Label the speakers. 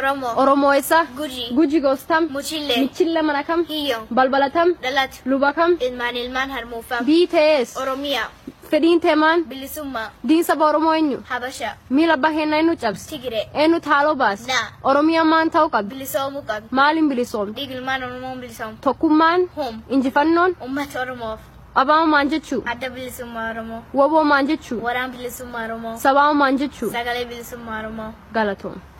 Speaker 1: Oromo.
Speaker 2: Oromo esa.
Speaker 1: Guji.
Speaker 2: Guji gostam.
Speaker 1: Muchille.
Speaker 2: Michille manatam.
Speaker 1: Hilyon.
Speaker 2: Balbalatam.
Speaker 1: Dalat.
Speaker 2: Lubakam.
Speaker 1: İlman ilman harmufam.
Speaker 2: BTS.
Speaker 1: Oromiya.
Speaker 2: Fedin teman.
Speaker 1: Bilisumma.
Speaker 2: Din saba Oromo enyu.
Speaker 1: Habaşa.
Speaker 2: Mila bahenna enyu cabs.
Speaker 1: Tigre.
Speaker 2: Enu thalo bas.
Speaker 1: Na.
Speaker 2: Oromia man tau kab.
Speaker 1: Bilisomu kab.
Speaker 2: Malin bilisom.
Speaker 1: Digilman Oromo bilisom.
Speaker 2: Tokumman.
Speaker 1: Hum.
Speaker 2: İncifannon.
Speaker 1: Ummet Oromo.
Speaker 2: Abam manjechu.
Speaker 1: Adda bilisumma Oromo.
Speaker 2: Wabo manjechu.
Speaker 1: Varan bilisumma Oromo.
Speaker 2: Sabam manjechu.
Speaker 1: Sagale bilisumma Oromo.
Speaker 2: Galatom.